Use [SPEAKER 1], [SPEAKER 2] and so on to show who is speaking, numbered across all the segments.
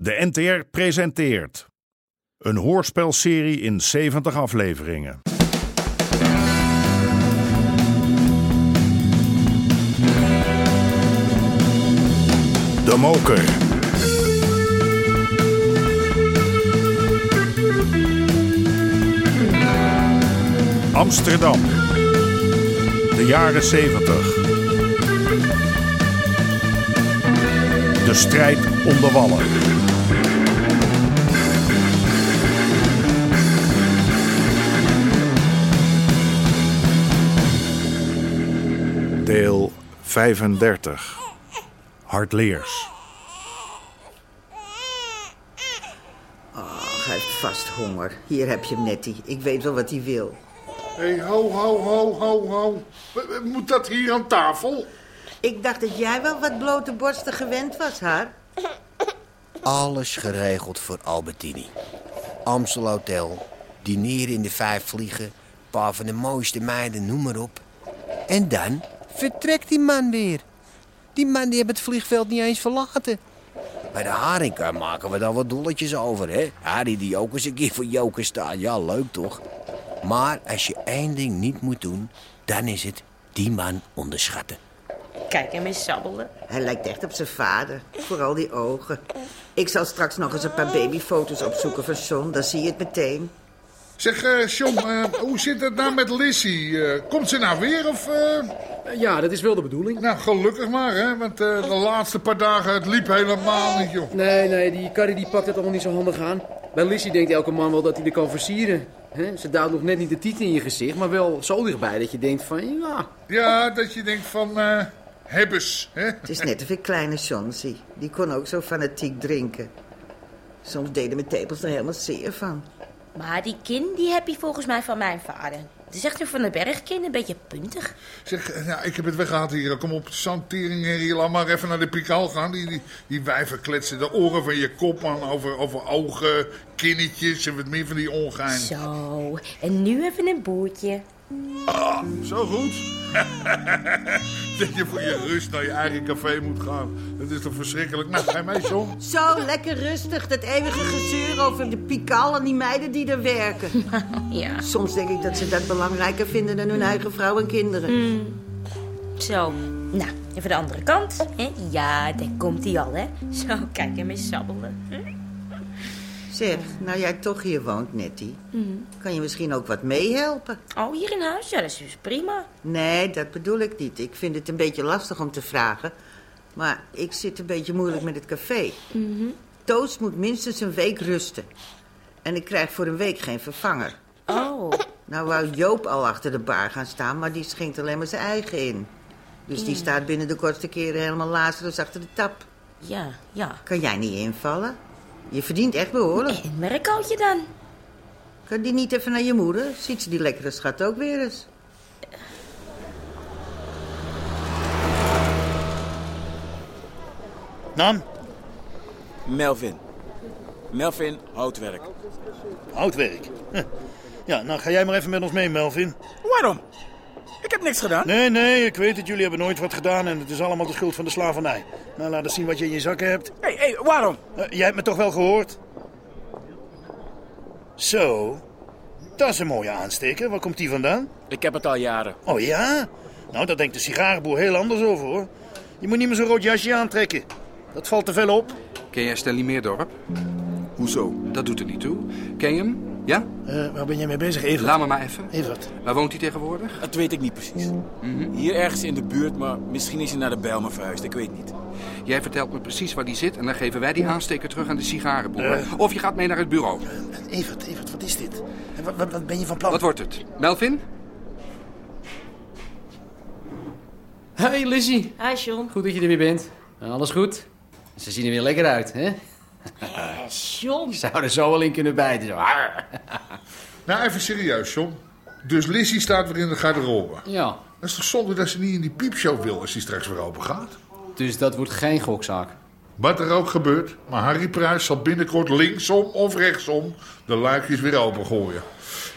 [SPEAKER 1] De NTR presenteert een hoorspelserie in 70 afleveringen. De Moker. Amsterdam. De jaren 70. De strijd om de wallen. Deel 35. Hartleers.
[SPEAKER 2] Och, hij heeft vast honger. Hier heb je hem, Nettie. Ik weet wel wat hij wil.
[SPEAKER 3] Hé, hey, ho, ho, ho, ho, ho. W- w- Moet dat hier aan tafel?
[SPEAKER 2] Ik dacht dat jij wel wat blote borsten gewend was, haar.
[SPEAKER 4] Alles geregeld voor Albertini. Amstel Hotel, diner in de vijf vliegen, een paar van de mooiste meiden, noem maar op. En dan vertrekt die man weer. Die man die heeft het vliegveld niet eens verlaten. Bij de Haringa maken we dan wat dolletjes over, hè? Harry die ook eens een keer voor Joker staan. Ja, leuk toch? Maar als je één ding niet moet doen, dan is het die man onderschatten.
[SPEAKER 5] Kijk hem eens sabbelen.
[SPEAKER 2] Hij lijkt echt op zijn vader. Vooral die ogen. Ik zal straks nog eens een paar babyfoto's opzoeken van John. Dan zie je het meteen.
[SPEAKER 3] Zeg, eh John, eh, hoe zit het nou met Lissy? Eh, komt ze nou weer of... eh?
[SPEAKER 6] Ja, dat is wel de bedoeling.
[SPEAKER 3] Nou, gelukkig maar, hè. Want eh, de laatste paar dagen, het liep helemaal niet, joh.
[SPEAKER 6] Nee, nee, die Carrie die pakt het allemaal niet zo handig aan. Bij Lissy denkt elke man wel dat hij er kan versieren. hè? ze duwt nog net niet de titel in je gezicht, maar wel zo dichtbij dat je denkt van ja.
[SPEAKER 3] Ja, dat je denkt van... eh hebbes, hè.
[SPEAKER 2] Het is net of ik kleine John zie. Die kon ook zo fanatiek drinken. Soms deden mijn tepels er helemaal zeer van.
[SPEAKER 5] Maar die kin die heb je volgens mij van mijn vader. Het is echt een van de bergkin, een beetje puntig.
[SPEAKER 3] Zeg, eh, nou, ik heb het weggehaald hier. Kom op, zantering, herrie. Laat maar even naar de pikaal gaan. Die, die, die wijven kletsen de oren van je kop aan over, over ogen, kinnetjes en wat meer van die ongein.
[SPEAKER 5] Zo, en nu even een boertje.
[SPEAKER 3] Zo goed? dat je voor je rust naar je eigen café moet gaan. Dat is toch verschrikkelijk? Nou, ga je mee, John?
[SPEAKER 2] Zo, lekker rustig. Dat eeuwige gezeur over de pikal en die meiden die er werken.
[SPEAKER 5] Ja,
[SPEAKER 2] Soms denk ik dat ze dat belangrijker vinden dan hun eigen vrouw en kinderen.
[SPEAKER 5] zo. Nou, even de andere kant. hè? Ja, daar komt hij al, hè. Zo, kijk hem eens sabbelen. Hm?
[SPEAKER 2] Zeg, nou jij toch hier woont, Nettie. Kan je misschien ook wat meehelpen?
[SPEAKER 5] Oh, hier in huis? Ja, dat is dus prima.
[SPEAKER 2] Nee, dat bedoel ik niet. Ik vind het een beetje lastig om te vragen. Maar ik zit een beetje moeilijk met het café. Toos moet minstens een week rusten. En ik krijg voor een week geen vervanger.
[SPEAKER 5] Oh,
[SPEAKER 2] Nou wou Joop al achter de bar gaan staan, maar die schenkt alleen maar zijn eigen in. Dus die staat binnen de kortste keren helemaal lazarus achter de tap.
[SPEAKER 5] ja, ja.
[SPEAKER 2] Kan jij niet invallen? Je verdient echt behoorlijk.
[SPEAKER 5] En Merkootje dan?
[SPEAKER 2] Kan die niet even naar je moeder? Ziet ze die lekkere schat ook weer eens?
[SPEAKER 7] Nam?
[SPEAKER 8] Melvin. Melvin Houtwerk.
[SPEAKER 7] Houtwerk. Huh. Ja, nou ga jij maar even met ons mee, Melvin.
[SPEAKER 8] Waarom? Ik heb niks gedaan.
[SPEAKER 7] Nee, nee, ik weet het. Jullie hebben nooit wat gedaan en het is allemaal de schuld van de slavernij. Nou, laat eens zien wat je in je zakken hebt.
[SPEAKER 8] Hé, hey, waarom?
[SPEAKER 7] Eh, jij hebt me toch wel gehoord? Zo, dat is een mooie aansteker. Waar komt die vandaan?
[SPEAKER 8] Ik heb het al jaren.
[SPEAKER 7] Oh ja? Nou, daar denkt de sigarenboer heel anders over, hoor. Je moet niet meer zo'n rood jasje aantrekken. Dat valt te veel op.
[SPEAKER 9] Ken jij Stanley Meerdorp?
[SPEAKER 8] Hoezo?
[SPEAKER 9] Dat doet er niet toe. Ken je hem? Ja?
[SPEAKER 7] Eh, waar ben jij mee bezig, Evert?
[SPEAKER 9] Laat me maar even.
[SPEAKER 7] Evert.
[SPEAKER 9] Waar woont hij tegenwoordig?
[SPEAKER 8] Dat weet ik niet precies. Hier ergens in de buurt, maar misschien is hij naar de Bijlmer verhuisd. Ik weet niet.
[SPEAKER 9] Jij vertelt me precies waar die zit en dan geven wij die aansteker terug aan de sigarenboer.
[SPEAKER 7] Eh.
[SPEAKER 9] Of je gaat mee naar het bureau.
[SPEAKER 7] Evert, Evert, wat is dit? En Wat, wat, wat ben je van plan?
[SPEAKER 9] Wat wordt het? Melvin?
[SPEAKER 6] Hey Lizzie,
[SPEAKER 5] Hi, John.
[SPEAKER 6] goed dat je er weer bent. Alles goed? Ze zien er weer lekker uit, hè?
[SPEAKER 5] John.
[SPEAKER 6] Zou er zo wel in kunnen bijten. Zo. Arr.
[SPEAKER 3] Nou, even serieus, John. Dus Lissy staat weer in de garderobe.
[SPEAKER 6] Ja,
[SPEAKER 3] Dat is toch zonde dat ze niet in die piepshow wil als die straks weer open gaat?
[SPEAKER 6] dus dat wordt geen gokzaak.
[SPEAKER 3] Wat er ook gebeurt, maar Harry Pruis zal binnenkort linksom of rechtsom de luikjes weer opengooien.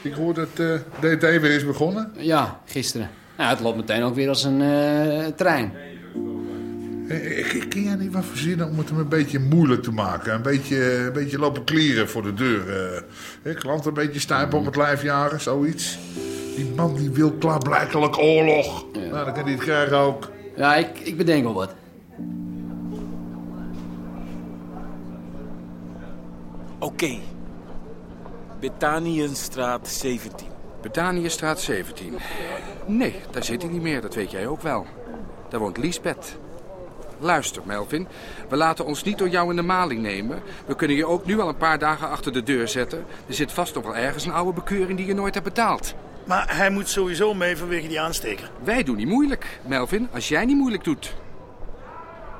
[SPEAKER 3] Ik hoor dat eh DT weer is begonnen.
[SPEAKER 6] Ja, gisteren. Nou, het loopt meteen ook weer als een eh, trein.
[SPEAKER 3] Eh, eh, Kun jij niet wat verzinnen om het hem een beetje moeilijk te maken? Een beetje, een beetje lopen klieren voor de deur. eh. Eh, klant een beetje stuipen op het lijf jagen, zoiets. Die man die wil klaarblijkelijk oorlog. Nou, dan kan hij het krijgen ook.
[SPEAKER 10] Ja, ik, ik bedenk wel wat.
[SPEAKER 11] Oké. Betaniënstraat 17.
[SPEAKER 9] Betaniëstraat 17. Nee, daar zit hij niet meer, dat weet jij ook wel. Daar woont Liesbeth. Luister, Melvin, we laten ons niet door jou in de maling nemen. We kunnen je ook nu al een paar dagen achter de deur zetten. Er zit vast nog wel ergens een oude bekeuring die je nooit hebt betaald.
[SPEAKER 7] Maar hij moet sowieso mee vanwege die aansteker.
[SPEAKER 9] Wij doen niet moeilijk, Melvin, als jij niet moeilijk doet.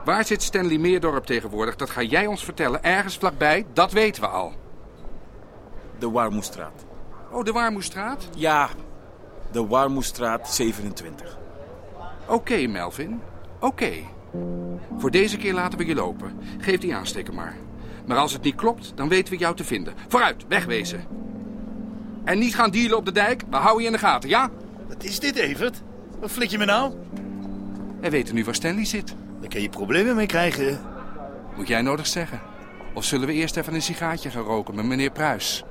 [SPEAKER 9] Waar zit Stanley Meerdorp tegenwoordig? Dat ga jij ons vertellen. Ergens vlakbij, dat weten we al.
[SPEAKER 11] De Warmoestraat.
[SPEAKER 9] Oh, de Warmoestraat?
[SPEAKER 11] Ja, de Warmoestraat 27.
[SPEAKER 9] Oké, Melvin. Oké. Voor deze keer laten we je lopen. Geef die aansteker maar. Maar als het niet klopt, dan weten we jou te vinden. Vooruit, wegwezen. En niet gaan dealen op de dijk. We houden je in de gaten, ja?
[SPEAKER 7] Wat is dit, Evert? Wat flik je me nou?
[SPEAKER 9] We weten nu waar Stanley zit.
[SPEAKER 7] Daar kun je problemen mee krijgen.
[SPEAKER 9] Moet jij nodig zeggen? Of zullen we eerst even een sigaartje gaan roken met meneer Pruis?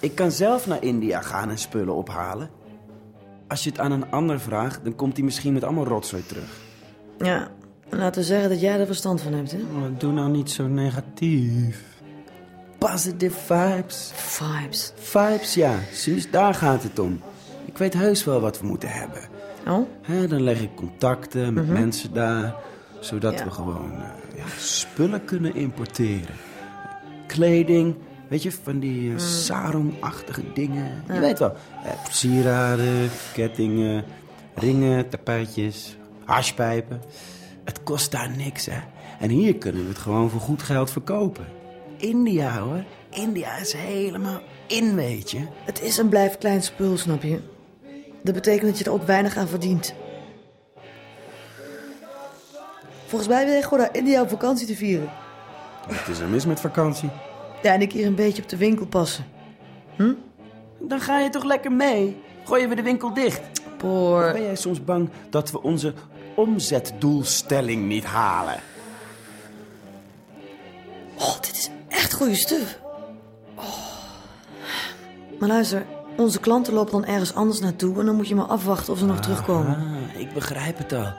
[SPEAKER 6] Ik kan zelf naar India gaan en spullen ophalen. Als je het aan een ander vraagt, dan komt hij misschien met allemaal rotzooi terug.
[SPEAKER 2] Ja, laten we zeggen dat jij er verstand van hebt, hè?
[SPEAKER 6] Doe nou niet zo negatief. Positive vibes.
[SPEAKER 2] Vibes.
[SPEAKER 6] Vibes, ja. Suus, daar gaat het om. Ik weet heus wel wat we moeten hebben.
[SPEAKER 2] Oh?
[SPEAKER 6] Hè, dan leg ik contacten met mensen daar, zodat
[SPEAKER 2] Mhm. Ja.
[SPEAKER 6] we gewoon eh, ja, spullen kunnen importeren. Kleding, weet je, van die
[SPEAKER 2] Mhm.
[SPEAKER 6] eh, sarong-achtige dingen. Je weet wel. Eh, sieraden, kettingen, ringen, tapijtjes, haspijpen. Het kost daar niks, hè. En hier kunnen we het gewoon voor goed geld verkopen. India, hoor. India is helemaal in, weet je.
[SPEAKER 2] Het is een blijft klein spul, snap je? Dat betekent dat je er ook weinig aan verdient. Volgens mij wil je gewoon naar India om vakantie te vieren.
[SPEAKER 6] Het is er mis met vakantie.
[SPEAKER 2] Ja, en ik hier een beetje op de winkel passen. Hm?
[SPEAKER 6] Dan ga je toch lekker mee? Gooien we de winkel dicht?
[SPEAKER 2] Poor.
[SPEAKER 6] Ben jij soms bang dat we onze omzetdoelstelling niet halen?
[SPEAKER 2] Oh, dit is echt goede stuf. Oh. Maar luister, onze klanten lopen dan ergens anders naartoe... en dan moet je maar afwachten of ze nog terugkomen.
[SPEAKER 6] Ah, ik begrijp het al.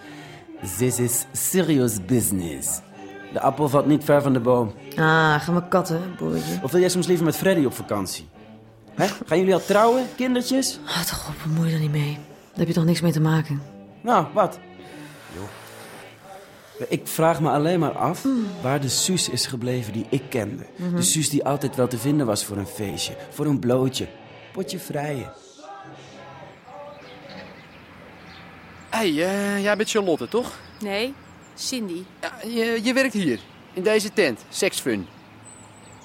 [SPEAKER 6] This is serious business. De appel valt niet ver van de boom.
[SPEAKER 2] Ah, ga maar katten, boertje.
[SPEAKER 6] Of wil jij soms liever met Freddy op vakantie? Hè? Gaan jullie al trouwen, kindertjes?
[SPEAKER 2] Ah, toch op, bemoei je er niet mee. Daar heb je toch niks mee te maken.
[SPEAKER 6] Nou, wat? Ik vraag me alleen maar af waar de Suus is gebleven die ik kende. De Suus die altijd wel te vinden was voor een feestje, voor een blootje. Potje vrije.
[SPEAKER 10] hey, eh, jij bent Charlotte, toch?
[SPEAKER 5] Nee, Cindy.
[SPEAKER 10] Ja, je, je werkt hier, in deze tent, Sexfun.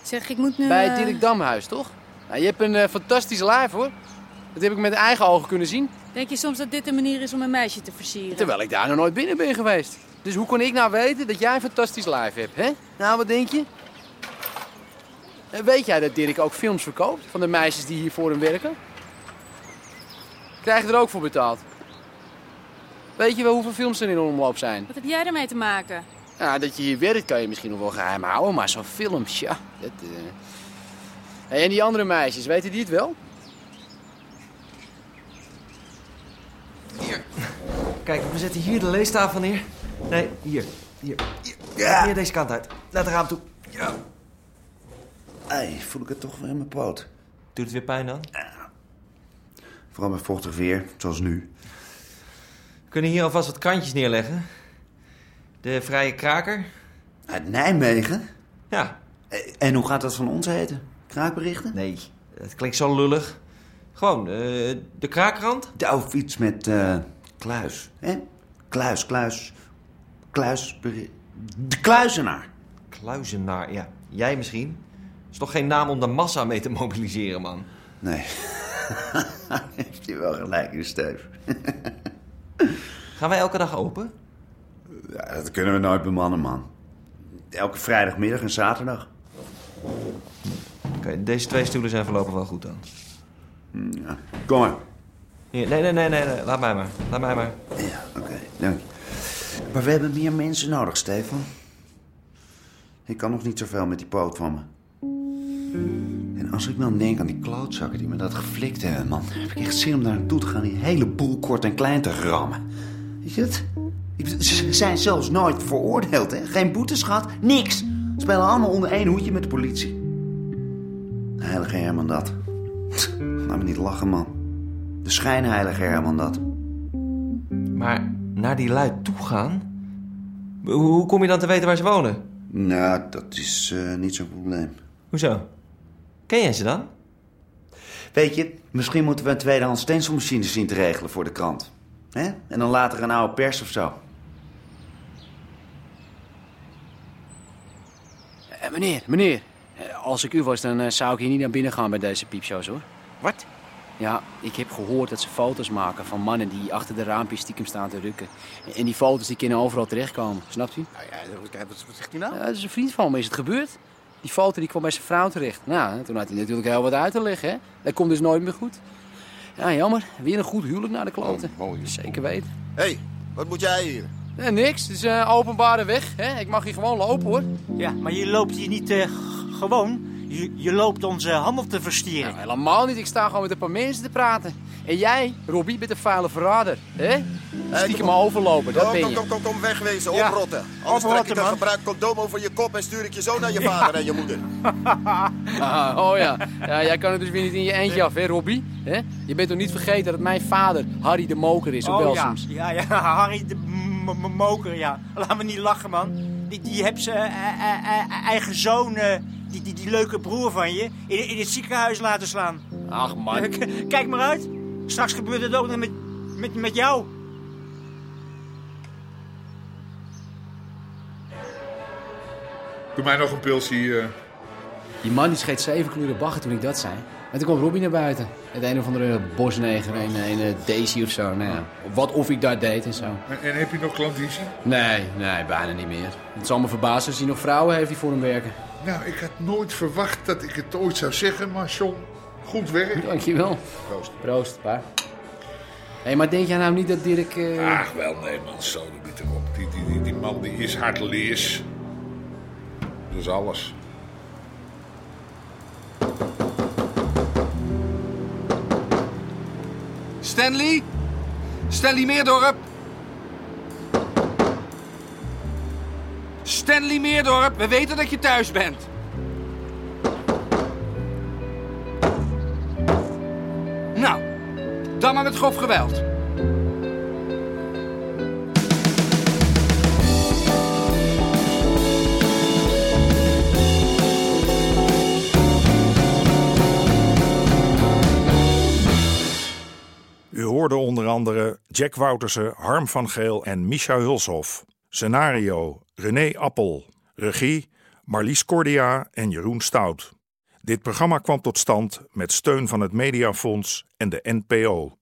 [SPEAKER 5] Zeg, ik moet nu...
[SPEAKER 10] Bij
[SPEAKER 5] eh,
[SPEAKER 10] het Dirk Damhuis, toch? Nou, je hebt een eh, fantastisch lijf, hoor. Dat heb ik met eigen ogen kunnen zien,
[SPEAKER 5] Denk je soms dat dit een manier is om een meisje te versieren?
[SPEAKER 10] terwijl ik daar nog nooit binnen ben geweest. Dus hoe kon ik nou weten dat jij een fantastisch lijf hebt, hè? Nou, wat denk je? Eh, Weet jij dat Dirk ook films verkoopt van de meisjes die hier voor hem werken? Krijg je er ook voor betaald? Weet je wel hoeveel films er in omloop zijn?
[SPEAKER 5] Wat heb jij ermee te maken?
[SPEAKER 10] Nou, dat je hier werkt kan je misschien nog wel geheim houden, maar zo'n film, ja. Dat, eh. Hey, en die andere meisjes, weten die het wel?
[SPEAKER 4] Kijk, we zetten hier de leestafel neer. Nee, hier. Hier. Ja. Hier deze kant uit. Naar het raam toe. Ja.
[SPEAKER 12] Ei, voel ik het toch weer in mijn poot.
[SPEAKER 4] Doet het weer pijn dan?
[SPEAKER 12] Vooral bij vochtig weer, zoals nu.
[SPEAKER 4] We kunnen hier alvast wat krantjes neerleggen. De Vrije Kraker.
[SPEAKER 12] Uit Nijmegen? Eh,
[SPEAKER 4] Ja.
[SPEAKER 12] En hoe gaat dat van ons heten? Kraakberichten?
[SPEAKER 4] Nee, dat klinkt zo lullig. Gewoon, eh, de kraakrand?
[SPEAKER 12] De oude fiets met eh, kluis. Hè? Kluis, kluis. Kluis. De kluizenaar.
[SPEAKER 4] Kluizenaar, ja. Jij misschien. is toch geen naam om de massa mee te mobiliseren, man?
[SPEAKER 12] Nee. Heeft je wel gelijk in, Steef.
[SPEAKER 4] Gaan wij elke dag open?
[SPEAKER 12] Ja, dat kunnen we nooit bemannen, man. Elke vrijdagmiddag en zaterdag.
[SPEAKER 4] Oké, deze twee stoelen zijn voorlopig wel goed dan.
[SPEAKER 12] Kom maar.
[SPEAKER 13] Hier, nee, nee, nee, nee, nee, laat mij maar. Laat mij maar.
[SPEAKER 7] Ja, oké, dank je. Maar we hebben meer mensen nodig, Stefan. Ik kan nog niet zoveel met die poot van me. En als ik dan denk aan die klootzakken die me dat geflikt hebben, man... dan heb ik echt zin om daar naartoe te gaan die hele boel kort en klein te rammen. Weet je het? Ik bedoel, Ze zijn zelfs nooit veroordeeld, hè? Geen boetes gehad, niks. Ze spelen allemaal onder één hoedje met de politie. Heilige Herman dat. Laat me niet lachen, man. De schijnheilige Herman dat.
[SPEAKER 13] Maar naar die lui toe gaan? Hoe- Hoe kom je dan te weten waar ze wonen?
[SPEAKER 7] Nou, dat is eh, niet zo'n probleem.
[SPEAKER 13] Hoezo? Ken jij ze dan?
[SPEAKER 7] Weet je, misschien moeten we een tweedehands stencilmachine zien te regelen voor de krant. Hè? En dan later een oude pers of zo.
[SPEAKER 6] Eh, meneer, meneer. eh, Als ik u was, dan eh, zou ik hier niet naar binnen gaan bij deze piepshows, hoor. Wat? Ja, ik heb gehoord dat ze foto's maken van mannen die achter de raampjes stiekem staan te rukken. En- En die foto's die kunnen overal terechtkomen, snapt u?
[SPEAKER 14] Wat zegt hij nou?
[SPEAKER 6] Ja, dat is een vriend van me, is het gebeurd. Die foto die kwam bij zijn vrouw terecht. Nou, toen had hij natuurlijk heel wat uit te leggen, hè. Dat komt dus nooit meer goed. Ja, jammer. Weer een goed huwelijk naar de kloten. Zeker weten.
[SPEAKER 4] Hé, wat moet jij hier?
[SPEAKER 6] Eh, niks, het is een openbare weg, hè. Ik mag hier gewoon lopen, hoor.
[SPEAKER 15] Ja, maar je loopt hier niet eh, g- gewoon. Je, je loopt onze handel te verstieren.
[SPEAKER 6] Nou, helemaal niet. Ik sta gewoon met een paar mensen te praten. En jij, Robbie, bent een vuile verrader. Hè? Stiekem maar overlopen, dat
[SPEAKER 4] kom,
[SPEAKER 6] ben
[SPEAKER 4] kom,
[SPEAKER 6] je.
[SPEAKER 4] kom, kom, kom, wegwezen,
[SPEAKER 6] Ja.
[SPEAKER 4] oprotten. Anders trek ik
[SPEAKER 6] Oprotten,
[SPEAKER 4] een
[SPEAKER 6] man.
[SPEAKER 4] gebruikt condoom over je kop en stuur ik je zo naar je vader en je moeder.
[SPEAKER 6] Ah, oh ja. ja, jij kan het dus weer niet in je eentje af, hè, Robbie? Hè? Je bent toch niet vergeten dat het mijn vader Harry de Moker is op
[SPEAKER 15] oh ja.
[SPEAKER 6] Belsums?
[SPEAKER 15] ja, ja, Harry de m- m- moker, ja. Laat me niet lachen, man. Die, die hebt zijn eigen zoon, eh, die, die, die leuke broer van je, in, in het ziekenhuis laten slaan.
[SPEAKER 6] Ach, man.
[SPEAKER 15] K- Kijk maar uit. Straks gebeurt het ook nog met, met, met jou.
[SPEAKER 3] Doe mij nog een pilsje hier.
[SPEAKER 6] Die man die scheet zeven kleuren bagger toen ik dat zei. En toen kwam Robbie naar buiten. Het een of andere bosneger, een, een eh, Daisy of zo. Nou, ja. Wat of ik daar deed en zo.
[SPEAKER 3] En, en heb je nog klandizie?
[SPEAKER 6] Nee, nee, bijna niet meer. Het zal me verbazen als hij nog vrouwen heeft die voor hem werken.
[SPEAKER 3] Nou, ik had nooit verwacht dat ik het ooit zou zeggen, maar John, goed werk.
[SPEAKER 6] Dankjewel.
[SPEAKER 3] Proost.
[SPEAKER 6] Proost, pa. Hé, maar denk jij nou niet dat Dirk... eh,
[SPEAKER 3] Ach, wel nee man, zo doe niet erop. Die, die, die, die man die is hardleers. Dat is alles.
[SPEAKER 9] Stanley? Stanley Meerdorp? Stanley Meerdorp, we weten dat je thuis bent. Nou, dan maar met grof geweld.
[SPEAKER 1] U hoorde onder andere Jack Woutersen, Harm van Geel en Micha Hulshof. Scenario René Appel. Regie Marlies Cordia en Jeroen Stout. Dit programma kwam tot stand met steun van het Mediafonds en de NPO.